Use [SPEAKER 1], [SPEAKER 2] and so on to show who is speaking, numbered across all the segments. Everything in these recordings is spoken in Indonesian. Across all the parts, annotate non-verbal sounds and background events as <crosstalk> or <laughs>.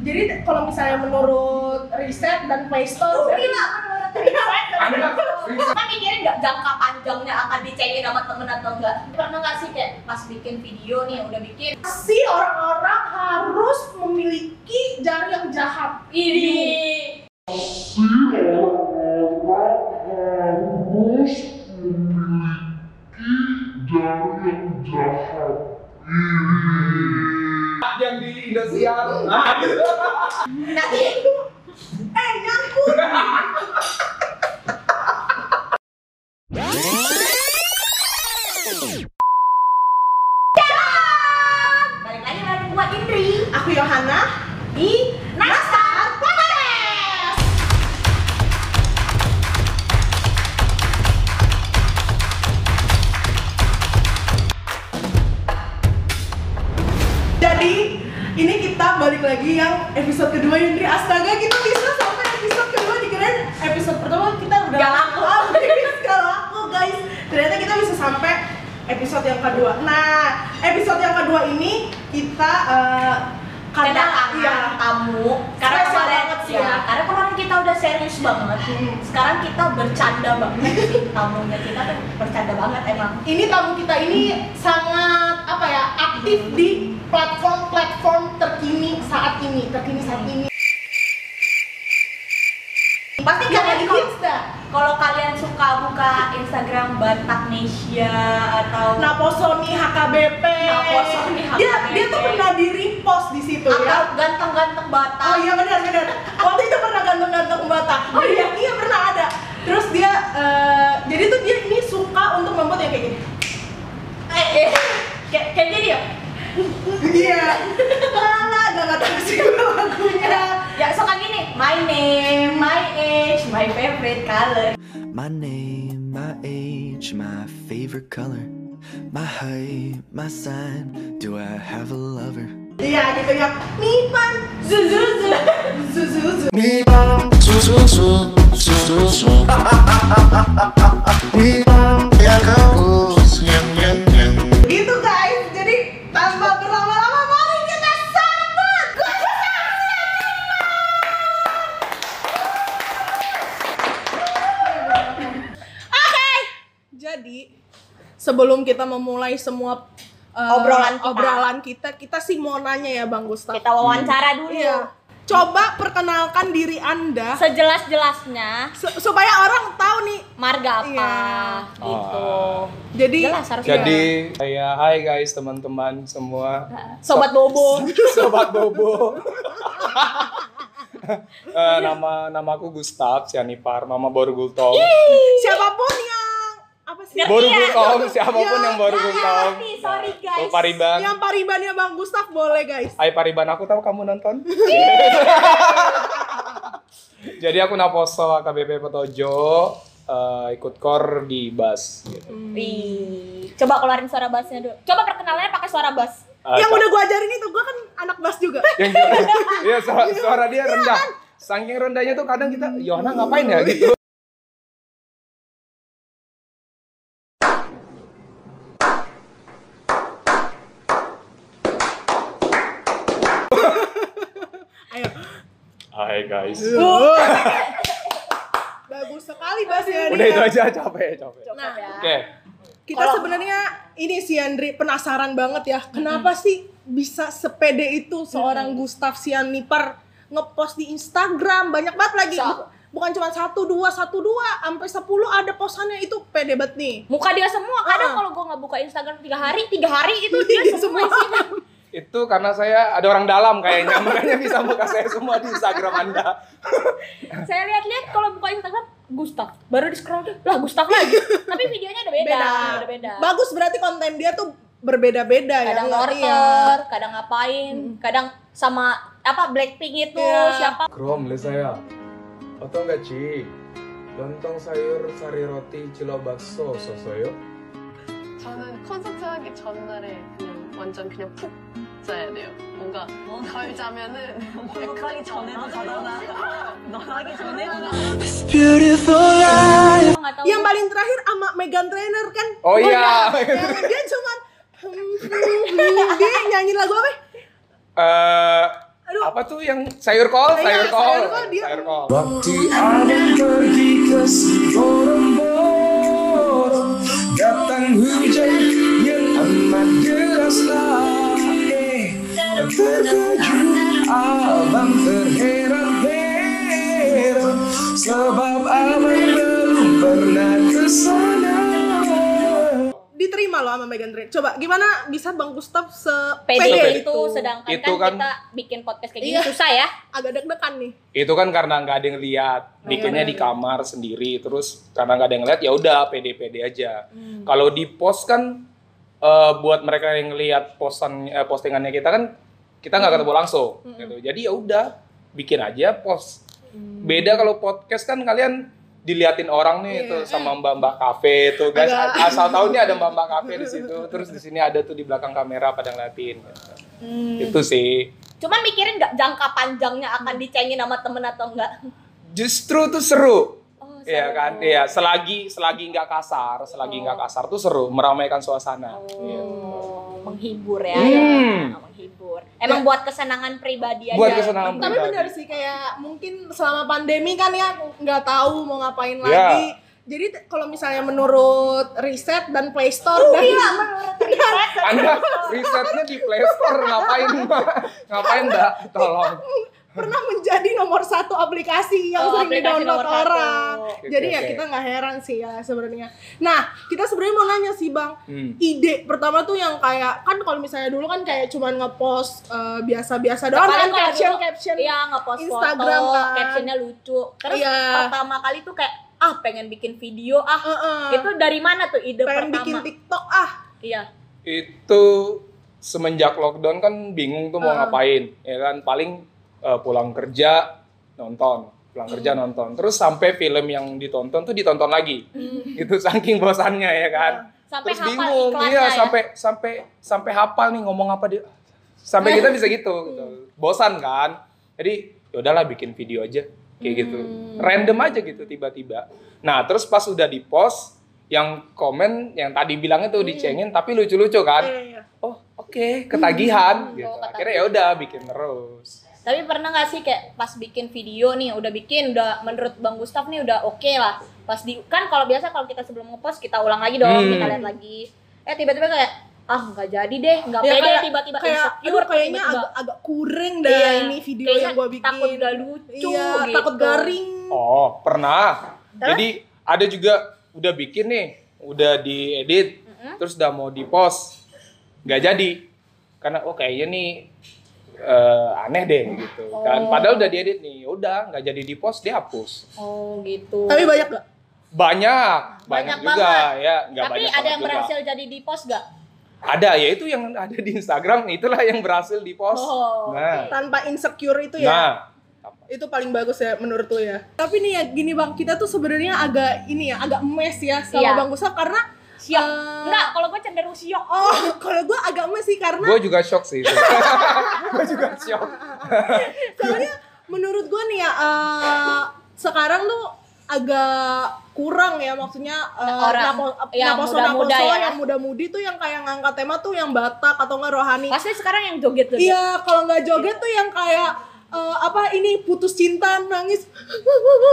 [SPEAKER 1] Jadi kalau misalnya menurut riset dan Play Store,
[SPEAKER 2] Rugi
[SPEAKER 1] dan-
[SPEAKER 2] lah menurut riset dan
[SPEAKER 3] Anda
[SPEAKER 2] menurut- Kan mikirin nggak jangka panjangnya akan dicengin sama temen atau enggak Pernah nggak sih kayak pas bikin video nih udah bikin
[SPEAKER 1] pasti orang-orang harus memiliki jari yang jahat.
[SPEAKER 2] Ini
[SPEAKER 3] yang di Indosiar. Nah, gitu.
[SPEAKER 2] Nanti
[SPEAKER 1] Eh, nyangkut.
[SPEAKER 2] Balik lagi bareng gua Indri
[SPEAKER 1] Aku Yohana.
[SPEAKER 2] Di Nastar Podcast
[SPEAKER 1] Jadi ini kita balik lagi yang episode kedua Yundri Astaga kita bisa sampai episode kedua dikirain episode pertama kita udah
[SPEAKER 2] Gak laku.
[SPEAKER 1] <laughs> habis gak laku guys ternyata kita bisa sampai episode yang kedua nah episode yang kedua ini kita eh,
[SPEAKER 2] kedatangan
[SPEAKER 1] iya,
[SPEAKER 2] tamu karena
[SPEAKER 1] Spesial
[SPEAKER 2] kemarin
[SPEAKER 1] banget sih.
[SPEAKER 2] ya, karena kemarin kita udah serius banget
[SPEAKER 1] Hmm.
[SPEAKER 2] sekarang kita bercanda banget
[SPEAKER 1] <laughs>
[SPEAKER 2] sih tamunya kita tuh bercanda banget emang
[SPEAKER 1] ini tamu kita ini sangat apa ya aktif di platform-platform terkini saat ini terkini saat ini
[SPEAKER 2] pasti
[SPEAKER 1] yang
[SPEAKER 2] kalian
[SPEAKER 1] lagi
[SPEAKER 2] kalau,
[SPEAKER 1] hits dah
[SPEAKER 2] kalau kalian suka buka Instagram Batak Nesia atau
[SPEAKER 1] Nah, Naposoni HKBP.
[SPEAKER 2] Naposoni HKBP.
[SPEAKER 1] Dia dia tuh pernah di repost di situ
[SPEAKER 2] atau
[SPEAKER 1] ya.
[SPEAKER 2] ganteng-ganteng Batak
[SPEAKER 1] Oh iya benar benar. Waktu itu pernah ganteng-ganteng Batak.
[SPEAKER 2] Oh
[SPEAKER 1] Jadi,
[SPEAKER 2] iya?
[SPEAKER 1] iya pernah ada. Terus dia eh, jadi tuh dia ini suka untuk membuat yang kayak gini.
[SPEAKER 2] eh, eh. kayak kayak gini ya
[SPEAKER 1] Iya. Malah gak nggak tahu sih gue lagunya.
[SPEAKER 2] ya suka gini my name my age my favorite color
[SPEAKER 4] My name, my age, my favorite color, my height, my sign. Do I have a lover?
[SPEAKER 1] Iya gitu ya. Nipan zuzuzu zuzuzu. Gitu guys. Jadi tanpa berlama-lama mari kita sambut. Oke. Jadi sebelum kita memulai semua eh,
[SPEAKER 2] Obrolan kita.
[SPEAKER 1] obrolan kita, kita sih mau nanya ya Bang Gustaf.
[SPEAKER 2] kita wawancara dulu
[SPEAKER 1] Iya. Coba perkenalkan diri Anda
[SPEAKER 2] sejelas-jelasnya
[SPEAKER 1] su- supaya orang tahu nih.
[SPEAKER 2] marga apa
[SPEAKER 1] Iya.
[SPEAKER 2] gitu.
[SPEAKER 1] Jadi
[SPEAKER 2] Jelas harus
[SPEAKER 3] Ah. Jadi, saya hai guys teman-teman semua,
[SPEAKER 2] sobat bobo.
[SPEAKER 3] <laughs> sobat Bobo. <laughs> Eh, nama namaku Gustaf Sianipar, Mama Borgultong.
[SPEAKER 1] <laughs> siapapun yang apa sih? Iya.
[SPEAKER 2] Ngerti ya?
[SPEAKER 3] Borgultong, oh, siapapun
[SPEAKER 1] Ya,
[SPEAKER 3] yang
[SPEAKER 2] nah,
[SPEAKER 3] Borgultong.
[SPEAKER 2] ngerti, sorry, guys.
[SPEAKER 3] Oh, Pariban.
[SPEAKER 1] Yang paribannya Bang Gustaf boleh guys.
[SPEAKER 3] Hai Pariban, aku tahu kamu nonton. <laughs> Jadi aku Naposo KBP Petojo eh, ikut kor di bus. Gitu.
[SPEAKER 2] Wih. Coba keluarin suara bassnya dulu. Coba perkenalannya pakai suara bass.
[SPEAKER 3] Eh,
[SPEAKER 1] yang
[SPEAKER 3] Kak-
[SPEAKER 1] udah gua ajarin itu gua kan anak bas juga.
[SPEAKER 3] <laughs> yang Iya, suara, suara dia rendah.
[SPEAKER 1] kan?
[SPEAKER 3] Saking rendahnya tuh kadang kita, Yohana ngapain ya
[SPEAKER 1] Iya.
[SPEAKER 3] gitu.
[SPEAKER 1] Ayo.
[SPEAKER 3] Hai guys.
[SPEAKER 1] <laughs> Bagus sekali ya, basnya
[SPEAKER 3] Udah itu aja capek, capek. Oke.
[SPEAKER 1] Nah.
[SPEAKER 2] Coba ya.
[SPEAKER 1] Kita
[SPEAKER 2] Kalau-
[SPEAKER 1] sebenarnya ini Siandri penasaran banget ya. Kenapa sih bisa sepede itu seorang Gustaf Sianipar ngepost di Instagram banyak banget lagi.
[SPEAKER 2] So-
[SPEAKER 1] Bukan cuma satu dua satu dua sampai sepuluh ada posannya itu pede banget nih.
[SPEAKER 2] Muka dia semua. Kadang
[SPEAKER 1] Ah. Iya,
[SPEAKER 2] kalau gua nggak buka Instagram tiga hari, tiga hari itu dia semua isinya.
[SPEAKER 3] Itu karena saya ada orang dalam kayaknya, <laughs> makanya bisa buka saya semua di Instagram Anda.
[SPEAKER 2] Saya lihat-lihat kalau buka Instagram Gustaf, baru di scroll tuh lah Gustaf
[SPEAKER 1] <laughs>
[SPEAKER 2] lagi. Tapi videonya udah beda, udah beda.
[SPEAKER 1] Bagus berarti konten dia tuh berbeda-beda ya.
[SPEAKER 2] Kadang
[SPEAKER 1] nggak- iya. Hmm.
[SPEAKER 2] order, kadang ngapain, kadang sama apa Blackpink itu
[SPEAKER 1] Iya.
[SPEAKER 2] siapa
[SPEAKER 3] Krom, lihat saya. Atau enggak, Ci? Lontong sayur, sari roti, cilau bakso, sosoyo.
[SPEAKER 5] 저는 콘서트 하기 전날에 그냥 완전 그냥 푹 자야 돼요. 뭔가 덜 자면은
[SPEAKER 6] 하기 전에 너 전화 너 하기 전에
[SPEAKER 4] This beautiful life.
[SPEAKER 2] Gua nggak tahu.
[SPEAKER 1] Iya. Yang paling terakhir sama Megan Trainer kan.
[SPEAKER 3] Oh iya.
[SPEAKER 1] Yang <laughs> dia cuman hmm, hmm, hmm, dia nyanyi lagu apa?
[SPEAKER 3] <laughs> Eh,
[SPEAKER 1] Aduh.
[SPEAKER 3] Apa tuh yang sayur kol?
[SPEAKER 1] Iya,
[SPEAKER 3] Sayur kol.
[SPEAKER 1] sayur kol, dia-
[SPEAKER 3] Sayur kol.
[SPEAKER 7] Waktu angin ketika borong-borong Datang hujan yang amat deraslah Eh, terkejut abang terheran-heran Sebab abang belum pernah kesana
[SPEAKER 1] diterima loh sama Megan Trainor. Coba gimana bisa Bang Gustaf se
[SPEAKER 2] pede
[SPEAKER 3] Pede
[SPEAKER 2] itu sedangkan
[SPEAKER 3] Itu
[SPEAKER 2] kan
[SPEAKER 3] kan-
[SPEAKER 2] kita bikin podcast kayak gini
[SPEAKER 1] Iya.
[SPEAKER 2] susah ya
[SPEAKER 1] agak deg-degan nih.
[SPEAKER 3] Itu kan karena nggak ada yang lihat,
[SPEAKER 1] Oh, iya,
[SPEAKER 3] bikinnya di kamar sendiri. Terus karena nggak ada yang lihat, ya udah pede-pede aja.
[SPEAKER 1] Hmm.
[SPEAKER 3] Kalau di post kan eh, buat mereka yang lihat postan eh, postingannya kita kan kita
[SPEAKER 1] Hmm.
[SPEAKER 3] nggak ketemu langsung. gitu. Jadi ya udah bikin aja post.
[SPEAKER 1] Hmm.
[SPEAKER 3] Beda kalau podcast kan kalian diliatin orang
[SPEAKER 1] Iya.
[SPEAKER 3] nih itu sama mbak-mbak kafe tuh guys
[SPEAKER 1] Agak-
[SPEAKER 3] asal tahu nih ada mbak-mbak kafe di situ terus di sini ada tuh di belakang kamera pada ngeliatin gitu.
[SPEAKER 1] Hmm.
[SPEAKER 3] itu sih
[SPEAKER 2] cuman mikirin nggak jangka panjangnya akan dicengin sama temen atau enggak
[SPEAKER 3] justru tuh seru
[SPEAKER 2] oh, seru.
[SPEAKER 3] Iya kan, iya. Selagi selagi nggak kasar, selagi nggak kasar tuh seru, meramaikan suasana. Iya.
[SPEAKER 2] Oh, menghibur ya,
[SPEAKER 3] Hmm. Nah,
[SPEAKER 2] ya, menghibur. Emang buat kesenangan pribadi
[SPEAKER 3] Buat
[SPEAKER 2] aja.
[SPEAKER 3] kesenangan
[SPEAKER 1] Tapi
[SPEAKER 3] pribadi.
[SPEAKER 1] benar sih kayak mungkin selama pandemi kan ya nggak tahu mau ngapain
[SPEAKER 3] Iya.
[SPEAKER 1] lagi. Jadi t- kalau misalnya menurut riset dan Play Store
[SPEAKER 2] Oh,
[SPEAKER 1] dan
[SPEAKER 2] iya,
[SPEAKER 3] Anda risetnya di Play Store ngapain, Mbak? ngapain Mbak? Tolong.
[SPEAKER 1] pernah menjadi nomor satu aplikasi yang
[SPEAKER 2] Oh,
[SPEAKER 1] sering
[SPEAKER 2] aplikasi
[SPEAKER 1] di-download
[SPEAKER 2] nomor satu.
[SPEAKER 1] orang.
[SPEAKER 3] Oke,
[SPEAKER 1] Jadi ya
[SPEAKER 3] oke.
[SPEAKER 1] kita nggak heran sih ya sebenarnya. Nah, kita sebenarnya mau nanya sih, Bang.
[SPEAKER 3] Hmm.
[SPEAKER 1] Ide pertama tuh yang kayak kan kalau misalnya dulu kan kayak cuman ngepost eh, biasa-biasa doang
[SPEAKER 2] Padahal
[SPEAKER 1] kan
[SPEAKER 2] kalau
[SPEAKER 1] caption
[SPEAKER 2] dulu-
[SPEAKER 1] caption.
[SPEAKER 2] Iya ngepost
[SPEAKER 1] Instagram
[SPEAKER 2] foto,
[SPEAKER 1] kan.
[SPEAKER 2] captionnya lucu. Terus
[SPEAKER 1] Iya.
[SPEAKER 2] pertama kali tuh kayak ah pengen bikin video ah.
[SPEAKER 1] Heeh.
[SPEAKER 2] Itu dari mana tuh ide
[SPEAKER 1] pengen
[SPEAKER 2] pertama?
[SPEAKER 1] bikin TikTok ah.
[SPEAKER 2] Iya.
[SPEAKER 3] Itu semenjak lockdown kan bingung tuh mau
[SPEAKER 1] Uh-uh.
[SPEAKER 2] Ah.
[SPEAKER 3] ngapain, ya kan? Paling eh, pulang kerja nonton, pulang kerja
[SPEAKER 2] Hmm.
[SPEAKER 3] nonton. Terus sampai film yang ditonton tuh ditonton lagi. Itu saking bosannya ya kan.
[SPEAKER 2] Hmm. Ah, Sampai
[SPEAKER 3] terus
[SPEAKER 2] hafal
[SPEAKER 3] bingung
[SPEAKER 2] iklannya
[SPEAKER 3] iya
[SPEAKER 2] ya.
[SPEAKER 3] sampai sampai sampai hafal nih ngomong apa dia sampai kita bisa gitu gitu. bosan kan jadi yaudahlah bikin video aja kayak gitu random aja gitu tiba-tiba nah terus pas udah di post yang komen yang tadi bilangnya tuh dicengin tapi lucu-lucu kan
[SPEAKER 1] Iya, iya.
[SPEAKER 3] oh oke ketagihan gitu
[SPEAKER 2] ketagihan.
[SPEAKER 3] akhirnya ya udah bikin terus
[SPEAKER 2] Tapi pernah nggak sih kayak pas bikin video nih udah bikin udah menurut Bang Gustaf nih udah oke lah. Pas di kan kalau biasa kalau kita sebelum ngepost kita ulang lagi dong,
[SPEAKER 3] Hmm.
[SPEAKER 2] kita lihat lagi. Eh tiba-tiba kayak ah nggak jadi deh, nggak
[SPEAKER 1] Ya,
[SPEAKER 2] pede
[SPEAKER 1] kayak-
[SPEAKER 2] tiba-tiba
[SPEAKER 1] kayak aduh
[SPEAKER 2] insecure,
[SPEAKER 1] kayaknya
[SPEAKER 2] tiba-tiba.
[SPEAKER 1] agak agak kurang dah
[SPEAKER 2] Iya.
[SPEAKER 1] ini video
[SPEAKER 2] Kayaknya
[SPEAKER 1] yang gue bikin.
[SPEAKER 2] takut nggak lucu
[SPEAKER 1] iya,
[SPEAKER 2] gitu.
[SPEAKER 1] takut garing.
[SPEAKER 3] Oh, pernah. Jadi ada juga udah bikin nih, udah diedit, terus udah mau dipost, nggak jadi karena oh kayaknya nih eh, aneh deh gitu kan. Padahal udah diedit nih, udah nggak jadi dipost dihapus.
[SPEAKER 2] Oh gitu.
[SPEAKER 1] Tapi banyak gak?
[SPEAKER 3] Banyak, banyak,
[SPEAKER 2] Banyak
[SPEAKER 3] juga
[SPEAKER 2] banget.
[SPEAKER 3] ya, nggak
[SPEAKER 2] Tapi
[SPEAKER 3] banyak
[SPEAKER 2] ada
[SPEAKER 3] banget
[SPEAKER 2] yang
[SPEAKER 3] juga.
[SPEAKER 2] berhasil jadi di post gak?
[SPEAKER 3] Ada, ya itu yang ada di Instagram, itulah yang berhasil dipost.
[SPEAKER 2] Oh,
[SPEAKER 3] nah,
[SPEAKER 1] tanpa insecure itu ya.
[SPEAKER 3] nah,
[SPEAKER 1] itu paling bagus ya menurut lu ya tapi nih ya gini bang kita tuh sebenarnya agak ini ya agak mes ya sama
[SPEAKER 2] Iya.
[SPEAKER 1] bang Gustaf karena
[SPEAKER 2] Siok.
[SPEAKER 1] eh,
[SPEAKER 2] Enggak, kalau gue cenderung siok.
[SPEAKER 1] oh <laughs> kalau gue agak mes sih karena
[SPEAKER 3] gue juga shock sih. <laughs> gue juga shock.
[SPEAKER 1] soalnya menurut gue nih ya eh, sekarang tuh agak kurang ya maksudnya eh,
[SPEAKER 2] Nah, Orang
[SPEAKER 1] napo- ap-
[SPEAKER 2] yang
[SPEAKER 1] naposo-
[SPEAKER 2] muda-muda
[SPEAKER 1] naposo
[SPEAKER 2] ya.
[SPEAKER 1] yang muda-mudi tuh yang kayak ngangkat tema tuh yang Batak atau nggak rohani
[SPEAKER 2] Pasti sekarang yang joget joget.
[SPEAKER 1] iya kalau nggak joget tuh yang kayak eh, apa ini putus cinta nangis <laughs>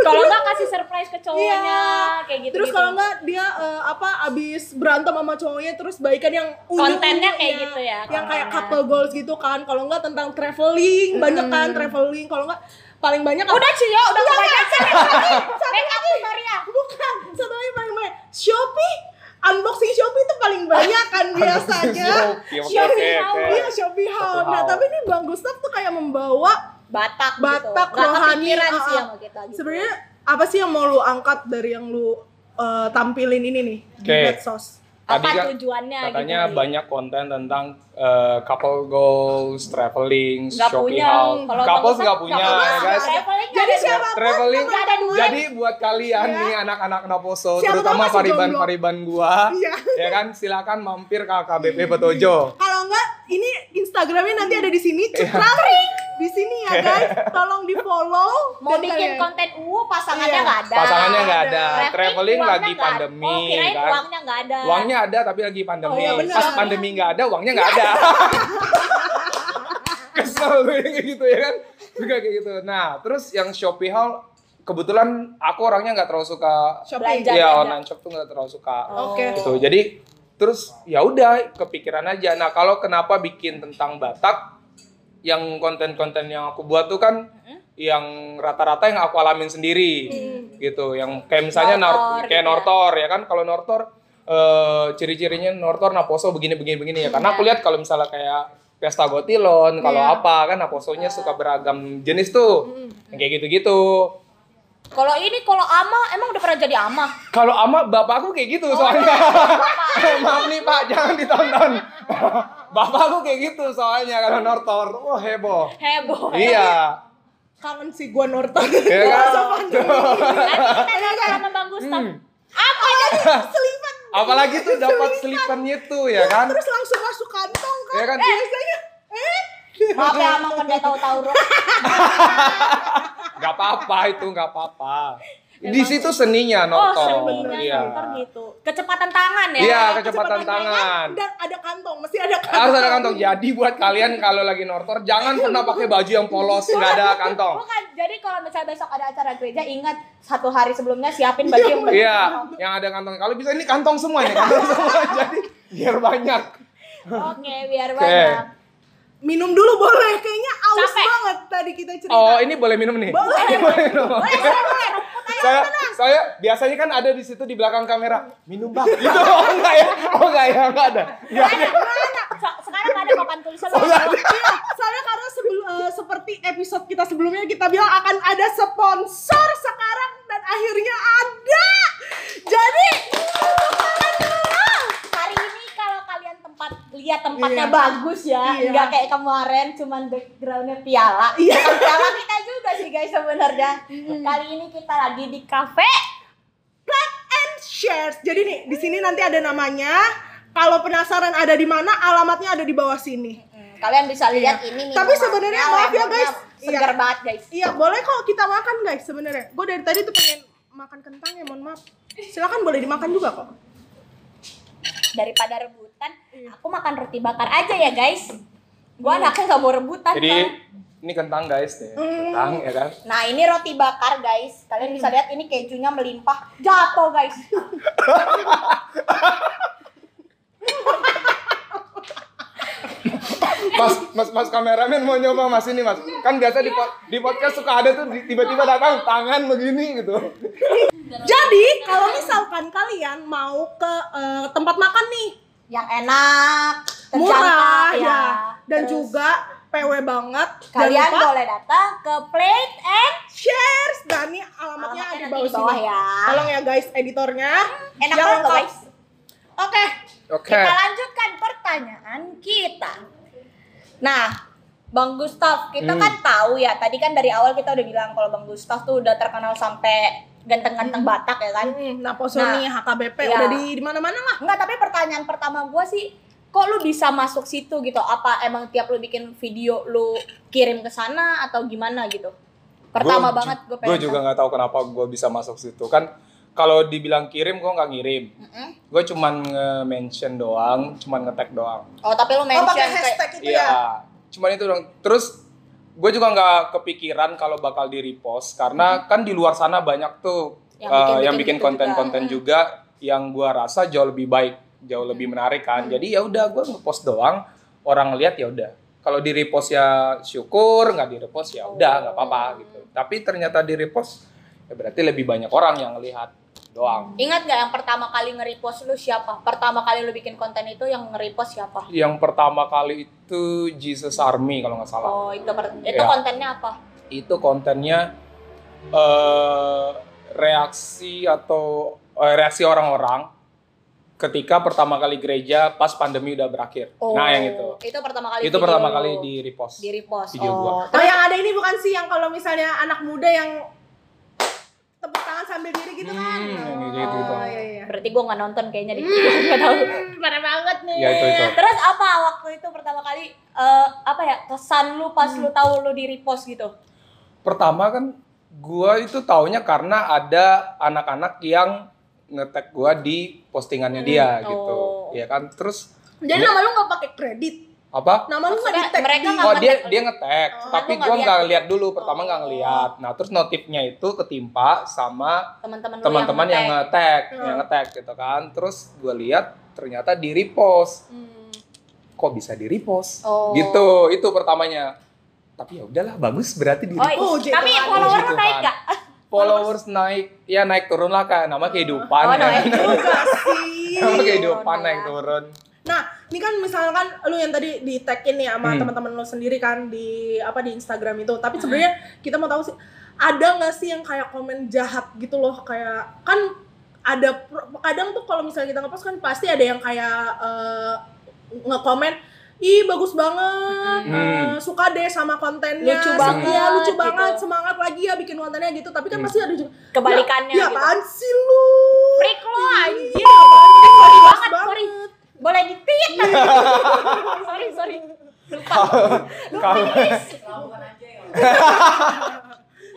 [SPEAKER 2] Kalau enggak kasih surprise ke cowoknya kayak gitu.
[SPEAKER 1] Iya. Terus kalau nggak dia eh, apa abis berantem sama cowoknya terus baikan yang unyu-unyunya.
[SPEAKER 2] Kontennya kayak gitu ya,
[SPEAKER 1] Yang kayak
[SPEAKER 2] kontennya.
[SPEAKER 1] couple goals gitu kan. Kalau nggak tentang traveling, banyak kan
[SPEAKER 3] Hmm.
[SPEAKER 1] traveling. Kalau nggak paling banyak
[SPEAKER 2] udah Cio, udah
[SPEAKER 1] Iya,
[SPEAKER 2] kebanyakan.
[SPEAKER 1] kan?
[SPEAKER 2] Make up Victoria.
[SPEAKER 1] Bukan, satu lagi paling banyak. Shopee unboxing Shopee itu paling banyak kan
[SPEAKER 3] <laughs>
[SPEAKER 1] biasanya.
[SPEAKER 3] Shopee, oke, oke, oke.
[SPEAKER 1] Iya, Shopee Haul. Nah, tapi ini Bang Gustaf tuh kayak membawa
[SPEAKER 2] Batak gitu.
[SPEAKER 1] Batak
[SPEAKER 2] Nggak
[SPEAKER 1] rohani.
[SPEAKER 2] kepikiran
[SPEAKER 1] uh-uh.
[SPEAKER 2] sih sama kita gitu.
[SPEAKER 1] Sebenarnya apa sih yang mau lu angkat dari yang lu eh, tampilin ini nih di
[SPEAKER 3] Oke.
[SPEAKER 1] medsos?
[SPEAKER 2] apa
[SPEAKER 3] Tadi kan-
[SPEAKER 2] tujuannya
[SPEAKER 3] Katanya
[SPEAKER 2] gitu.
[SPEAKER 3] banyak konten tentang eh, couple goals, traveling,
[SPEAKER 2] Nggak
[SPEAKER 3] shopping
[SPEAKER 2] punya.
[SPEAKER 3] out.
[SPEAKER 2] Kalau
[SPEAKER 3] Couples
[SPEAKER 2] bagusan
[SPEAKER 3] nggak punya,
[SPEAKER 2] nggak
[SPEAKER 3] ya
[SPEAKER 2] punya.
[SPEAKER 3] guys.
[SPEAKER 2] Traveling nggak
[SPEAKER 1] Jadi
[SPEAKER 2] ada
[SPEAKER 1] siapa
[SPEAKER 3] Traveling.
[SPEAKER 2] Nggak ada duit.
[SPEAKER 3] Jadi buat kalian
[SPEAKER 1] Iya.
[SPEAKER 3] nih anak-anak Naposo,
[SPEAKER 1] Siapa
[SPEAKER 3] terutama
[SPEAKER 1] tahu masih jomblo.
[SPEAKER 3] pariban-pariban gua, <laughs>
[SPEAKER 1] Iya.
[SPEAKER 3] ya kan silakan mampir ke KBP Petojo.
[SPEAKER 1] Kalau enggak, ini Instagramnya nanti ada di
[SPEAKER 3] Iya.
[SPEAKER 1] sini. Citra di sini ya guys. Tolong di follow.
[SPEAKER 2] mau bikin konten UU pasangannya
[SPEAKER 1] ya? Iya.
[SPEAKER 2] nggak ada.
[SPEAKER 3] Pasangannya nggak ada.
[SPEAKER 2] Traveling
[SPEAKER 3] Traveling
[SPEAKER 2] uangnya
[SPEAKER 3] lagi
[SPEAKER 2] nggak ada.
[SPEAKER 3] pandemi,
[SPEAKER 2] Oh, kirain
[SPEAKER 3] kan.
[SPEAKER 2] uangnya nggak ada.
[SPEAKER 3] Uangnya ada tapi lagi pandemi.
[SPEAKER 1] Oh, iya, benar.
[SPEAKER 2] <laughs>
[SPEAKER 3] Pas pandemi nggak ada, uangnya nggak ada. kesel gue kayak gitu ya kan juga kayak gitu nah terus yang Shopee haul kebetulan aku orangnya nggak terlalu suka
[SPEAKER 1] Shopee.
[SPEAKER 2] Belanja.
[SPEAKER 3] ya online shop tuh nggak terlalu suka
[SPEAKER 2] Oh,
[SPEAKER 1] Oke.
[SPEAKER 3] gitu jadi terus ya udah kepikiran aja nah kalau kenapa bikin tentang Batak yang konten-konten yang aku buat tuh kan
[SPEAKER 2] Hmm?
[SPEAKER 3] yang rata-rata yang aku alamin sendiri gitu yang kayak misalnya
[SPEAKER 2] Hmm. Nortor
[SPEAKER 3] nor-
[SPEAKER 2] gitu
[SPEAKER 3] kayak
[SPEAKER 2] ya.
[SPEAKER 3] nortor ya kan kalau nortor eh, ciri-cirinya nortor naposo begini begini begini ya
[SPEAKER 2] Iya.
[SPEAKER 3] karena aku lihat kalau misalnya kayak pesta gotilon kalau
[SPEAKER 1] Iya.
[SPEAKER 3] apa kan naposonya suka beragam jenis tuh
[SPEAKER 2] Hmm.
[SPEAKER 3] Yang kayak gitu-gitu
[SPEAKER 2] Kalau ini kalau ama emang udah pernah jadi ama.
[SPEAKER 3] kalau ama bapakku kayak gitu soalnya. <laughs> Maaf nih Pak, jangan ditonton. <laughs> bapakku kayak gitu soalnya kalau nortor. Wah, heboh.
[SPEAKER 8] Oh,
[SPEAKER 2] Heboh.
[SPEAKER 3] Iya.
[SPEAKER 1] Kangen sih gua Norton.
[SPEAKER 3] Iya kan?
[SPEAKER 2] Nanti kita nonton sama Bang Gustaf.
[SPEAKER 1] Hmm.
[SPEAKER 2] Apa
[SPEAKER 3] <laughs>
[SPEAKER 2] jadi?
[SPEAKER 1] Selipan.
[SPEAKER 3] Apalagi tuh dapat selipannya tuh ya kan.
[SPEAKER 1] Terus langsung masuk kantong kan.
[SPEAKER 3] Ya kan?
[SPEAKER 1] Biasanya eh
[SPEAKER 2] Maaf ya ama pendeta tahu tahu
[SPEAKER 3] Gak apa-apa itu, gak apa-apa. Di situ
[SPEAKER 2] Oh,
[SPEAKER 3] seninya nortor.
[SPEAKER 2] sebenarnya
[SPEAKER 3] iya.
[SPEAKER 2] nonton gitu. Kecepatan tangan ya.
[SPEAKER 3] Iya, kecepatan tangan.
[SPEAKER 1] Dan ada kantong, mesti ada kantong.
[SPEAKER 3] Harus ada kantong. Jadi buat kalian kalau lagi nortor jangan pernah pakai baju yang polos, nggak ada kantong.
[SPEAKER 2] Bukan, jadi kalau misalnya besok ada acara gereja, ingat satu hari sebelumnya siapin baju yang bener.
[SPEAKER 3] Iya, yang ada kantong. Kalau bisa ini kantong semua nih, kantong semua. <laughs> Jadi biar banyak.
[SPEAKER 2] Oke, biar
[SPEAKER 3] Oke.
[SPEAKER 2] banyak.
[SPEAKER 1] Minum dulu boleh, kayaknya aus
[SPEAKER 2] Capek.
[SPEAKER 1] banget tadi kita cerita. Iya,
[SPEAKER 3] Oh, ini boleh minum nih.
[SPEAKER 1] Boleh.
[SPEAKER 3] Ini boleh minum.
[SPEAKER 2] Boleh, boleh, boleh.
[SPEAKER 3] Saya, saya biasanya kan ada di situ di belakang kamera. Minum bang. <laughs> Gitu. Oh enggak ya? Oh enggak ya? Enggak ada. Enggak ada.
[SPEAKER 2] Mana? Se- Sekarang ada papan tulisan. Bang.
[SPEAKER 1] Iya, soalnya karena sebelum eh, seperti episode kita sebelumnya kita bilang akan ada sponsor sekarang dan akhirnya ada. Jadi
[SPEAKER 2] Hari ini kalau kalian tempat lihat tempatnya
[SPEAKER 1] Iya.
[SPEAKER 2] bagus ya,
[SPEAKER 1] Iya.
[SPEAKER 2] nggak kayak kemarin cuman backgroundnya piala.
[SPEAKER 1] Iya.
[SPEAKER 2] Bukan piala kita juga sih guys sebenarnya. Kali ini kita lagi di kafe.
[SPEAKER 1] like and shares. Jadi nih di sini nanti ada namanya. Kalau penasaran ada di mana, alamatnya ada di bawah sini.
[SPEAKER 2] Kalian bisa lihat ini.
[SPEAKER 1] Iya. Tapi
[SPEAKER 2] minumannya,
[SPEAKER 1] sebenarnya maaf ya, guys.
[SPEAKER 2] lemonnya Segar
[SPEAKER 1] Iya.
[SPEAKER 2] banget guys.
[SPEAKER 1] Iya, boleh kok kita makan guys sebenarnya. Gue dari tadi tuh pengen makan kentang ya, mohon maaf. Silakan boleh dimakan juga kok.
[SPEAKER 2] Daripada rebutan,
[SPEAKER 1] Iya.
[SPEAKER 2] aku makan roti bakar aja ya guys. Gua anaknya nggak mau rebutan.
[SPEAKER 3] Jadi
[SPEAKER 2] Bang.
[SPEAKER 3] ini kentang guys nih. Kentang ya kan?
[SPEAKER 2] Nah ini roti bakar guys. Kalian bisa lihat ini kejunya melimpah. Jatuh guys.
[SPEAKER 3] Mas Mas Mas kameramen mau nyoba Mas ini Mas. Kan biasa di po- di podcast suka ada tuh di- tiba-tiba datang tangan begini gitu.
[SPEAKER 1] Jadi kalau misalkan kalian mau ke eh, tempat makan nih
[SPEAKER 2] Yang enak.
[SPEAKER 1] murah
[SPEAKER 2] terjangkau,
[SPEAKER 1] ya, dan
[SPEAKER 2] Terus
[SPEAKER 1] juga PW banget.
[SPEAKER 2] kalian
[SPEAKER 1] Jangan lupa
[SPEAKER 2] boleh datang ke Plate and
[SPEAKER 1] shares dan nih alamatnya,
[SPEAKER 2] alamatnya
[SPEAKER 1] ada
[SPEAKER 2] nanti
[SPEAKER 1] di bawah,
[SPEAKER 2] di bawah
[SPEAKER 1] sini.
[SPEAKER 2] ya. Hmm,
[SPEAKER 1] Tolong ya guys editornya.
[SPEAKER 2] Enak
[SPEAKER 1] Yang
[SPEAKER 2] banget loh,
[SPEAKER 1] lengkap.
[SPEAKER 2] guys.
[SPEAKER 1] Oke.
[SPEAKER 3] Oke.
[SPEAKER 2] Kita lanjutkan pertanyaan kita. Nah, Bang Gustaf, kita
[SPEAKER 3] Hmm.
[SPEAKER 2] kan tahu ya, tadi kan dari awal kita udah bilang kalau Bang Gustaf tuh udah terkenal sampai ganteng-ganteng Batak ya kan.
[SPEAKER 1] Mm, Nah, Posoni HKBP
[SPEAKER 2] ya.
[SPEAKER 1] udah di di mana-mana lah.
[SPEAKER 2] Enggak, tapi pertanyaan pertama gue sih, kok lu bisa masuk situ gitu? Apa emang tiap lu bikin video lu kirim ke sana atau gimana gitu? Pertama banget gue pengen.
[SPEAKER 3] Gue juga nggak tahu kenapa gue bisa masuk situ kan. Kalau dibilang kirim, gue nggak ngirim.
[SPEAKER 2] Mm-mm.
[SPEAKER 3] Gue cuman nge-mention doang, cuman nge-tag doang.
[SPEAKER 2] Oh, tapi
[SPEAKER 1] Oh,
[SPEAKER 2] lu mention
[SPEAKER 1] pakai
[SPEAKER 2] kayak-
[SPEAKER 1] hashtag itu
[SPEAKER 3] Iya,
[SPEAKER 1] ya.
[SPEAKER 3] cuman itu dong. Terus gue juga nggak kepikiran kalau bakal di repost karena kan di luar sana banyak tuh
[SPEAKER 2] Yang
[SPEAKER 3] eh,
[SPEAKER 2] bikin-bikin
[SPEAKER 3] yang bikin Hmm.
[SPEAKER 2] gitu
[SPEAKER 3] konten-konten juga. yang gue rasa jauh lebih baik, jauh lebih menarik kan. Jadi ya udah gue ngepost doang, orang lihat ya udah. Kalau di repost ya syukur, nggak di repost ya udah nggak apa-apa gitu. Tapi ternyata di repost ya berarti lebih banyak orang yang lihat doang.
[SPEAKER 2] Ingat nggak yang pertama kali nge-repost lu siapa? Pertama kali lu bikin konten itu yang nge-repost siapa?
[SPEAKER 3] Yang pertama kali itu Jesus Army kalau nggak salah.
[SPEAKER 2] Oh, itu per- itu
[SPEAKER 3] Iya.
[SPEAKER 2] kontennya apa?
[SPEAKER 3] itu kontennya eh reaksi atau eh, reaksi orang-orang ketika pertama kali gereja pas pandemi udah berakhir.
[SPEAKER 2] Oh,
[SPEAKER 3] nah, yang itu.
[SPEAKER 2] Itu pertama kali.
[SPEAKER 3] Itu
[SPEAKER 2] video
[SPEAKER 3] pertama
[SPEAKER 2] lu
[SPEAKER 3] kali di repost.
[SPEAKER 2] di repost.
[SPEAKER 3] video
[SPEAKER 2] oh.
[SPEAKER 3] gua.
[SPEAKER 1] Oh, yang ada ini bukan sih yang kalau misalnya anak muda yang tepuk tangan sambil diri gitu kan.
[SPEAKER 3] Hmm, yang
[SPEAKER 1] oh,
[SPEAKER 3] gitu-gitu.
[SPEAKER 1] iya, iya.
[SPEAKER 2] Berarti gue nggak nonton kayaknya di
[SPEAKER 1] Hmm.
[SPEAKER 2] nggak tahu. Hmm, Parah banget nih.
[SPEAKER 3] Ya, itu, itu.
[SPEAKER 2] Terus apa waktu itu pertama kali eh, apa ya kesan lu pas
[SPEAKER 1] Hmm.
[SPEAKER 2] lu tahu lu di repost gitu?
[SPEAKER 3] Pertama kan gua itu taunya karena ada anak-anak yang ngetek gua di postingannya dia
[SPEAKER 2] Hmm,
[SPEAKER 3] gitu.
[SPEAKER 2] oh.
[SPEAKER 3] Ya kan? Terus
[SPEAKER 1] Jadi nama lu nggak pakai kredit.
[SPEAKER 3] apa?
[SPEAKER 1] Nama lu nggak
[SPEAKER 2] Maksudnya
[SPEAKER 1] di tag
[SPEAKER 2] mereka
[SPEAKER 1] di-
[SPEAKER 2] nggak
[SPEAKER 3] Oh dia
[SPEAKER 2] ngetek.
[SPEAKER 3] dia ngetek,
[SPEAKER 1] Oh,
[SPEAKER 3] tapi
[SPEAKER 2] lu nggak
[SPEAKER 3] gua nggak
[SPEAKER 2] lihat. Oh.
[SPEAKER 3] lihat dulu pertama nggak ngeliat. Nah terus notifnya itu ketimpa sama
[SPEAKER 2] teman-teman lu
[SPEAKER 3] teman-teman yang
[SPEAKER 2] ngetek.
[SPEAKER 3] ngetek,
[SPEAKER 1] Hmm.
[SPEAKER 3] yang ngetek gitu kan. Terus gua lihat ternyata di repost,
[SPEAKER 2] Hmm.
[SPEAKER 3] kok bisa di repost?
[SPEAKER 2] Oh.
[SPEAKER 3] Gitu itu pertamanya. Tapi ya udahlah bagus berarti di
[SPEAKER 2] Oh,
[SPEAKER 1] Oh,
[SPEAKER 2] iya. tapi
[SPEAKER 1] gitu.
[SPEAKER 2] follower lu
[SPEAKER 3] Gitu,
[SPEAKER 2] naik
[SPEAKER 3] kan.
[SPEAKER 2] <laughs> gak?
[SPEAKER 3] followers naik ya naik turun lah kan nama kehidupan
[SPEAKER 2] Oh,
[SPEAKER 3] ya. <laughs>
[SPEAKER 2] naik.
[SPEAKER 1] Juga sih.
[SPEAKER 3] nama kehidupan
[SPEAKER 2] Turun,
[SPEAKER 3] naik
[SPEAKER 2] naik.
[SPEAKER 3] turun
[SPEAKER 1] Nah, ini kan misalkan lu yang tadi di tagin nih sama
[SPEAKER 3] Hmm.
[SPEAKER 1] teman-teman lu sendiri kan di apa di Instagram itu. Tapi
[SPEAKER 2] Hmm.
[SPEAKER 1] sebenarnya kita mau tahu sih ada nggak sih yang kayak komen jahat gitu loh kayak kan ada pro- kadang tuh kalau misalnya kita ngepost kan pasti ada yang kayak eh, ngekomen ih bagus banget eh,
[SPEAKER 3] Hmm.
[SPEAKER 1] suka deh sama kontennya
[SPEAKER 2] Lucu
[SPEAKER 1] Iya,
[SPEAKER 2] banget,
[SPEAKER 1] lucu
[SPEAKER 2] gitu.
[SPEAKER 1] banget semangat lagi ya bikin kontennya gitu tapi kan
[SPEAKER 3] Hmm.
[SPEAKER 1] pasti ada juga
[SPEAKER 2] Kebalikannya
[SPEAKER 1] ya
[SPEAKER 2] gitu.
[SPEAKER 1] apaan sih lu
[SPEAKER 2] Freak lu anjir.
[SPEAKER 1] Iya, apaan sih?
[SPEAKER 2] Sorry
[SPEAKER 1] Jelas
[SPEAKER 2] banget, sorry. Boleh ditit. sorry, sorry. Lupa. Lupa
[SPEAKER 3] kalau-
[SPEAKER 2] guys.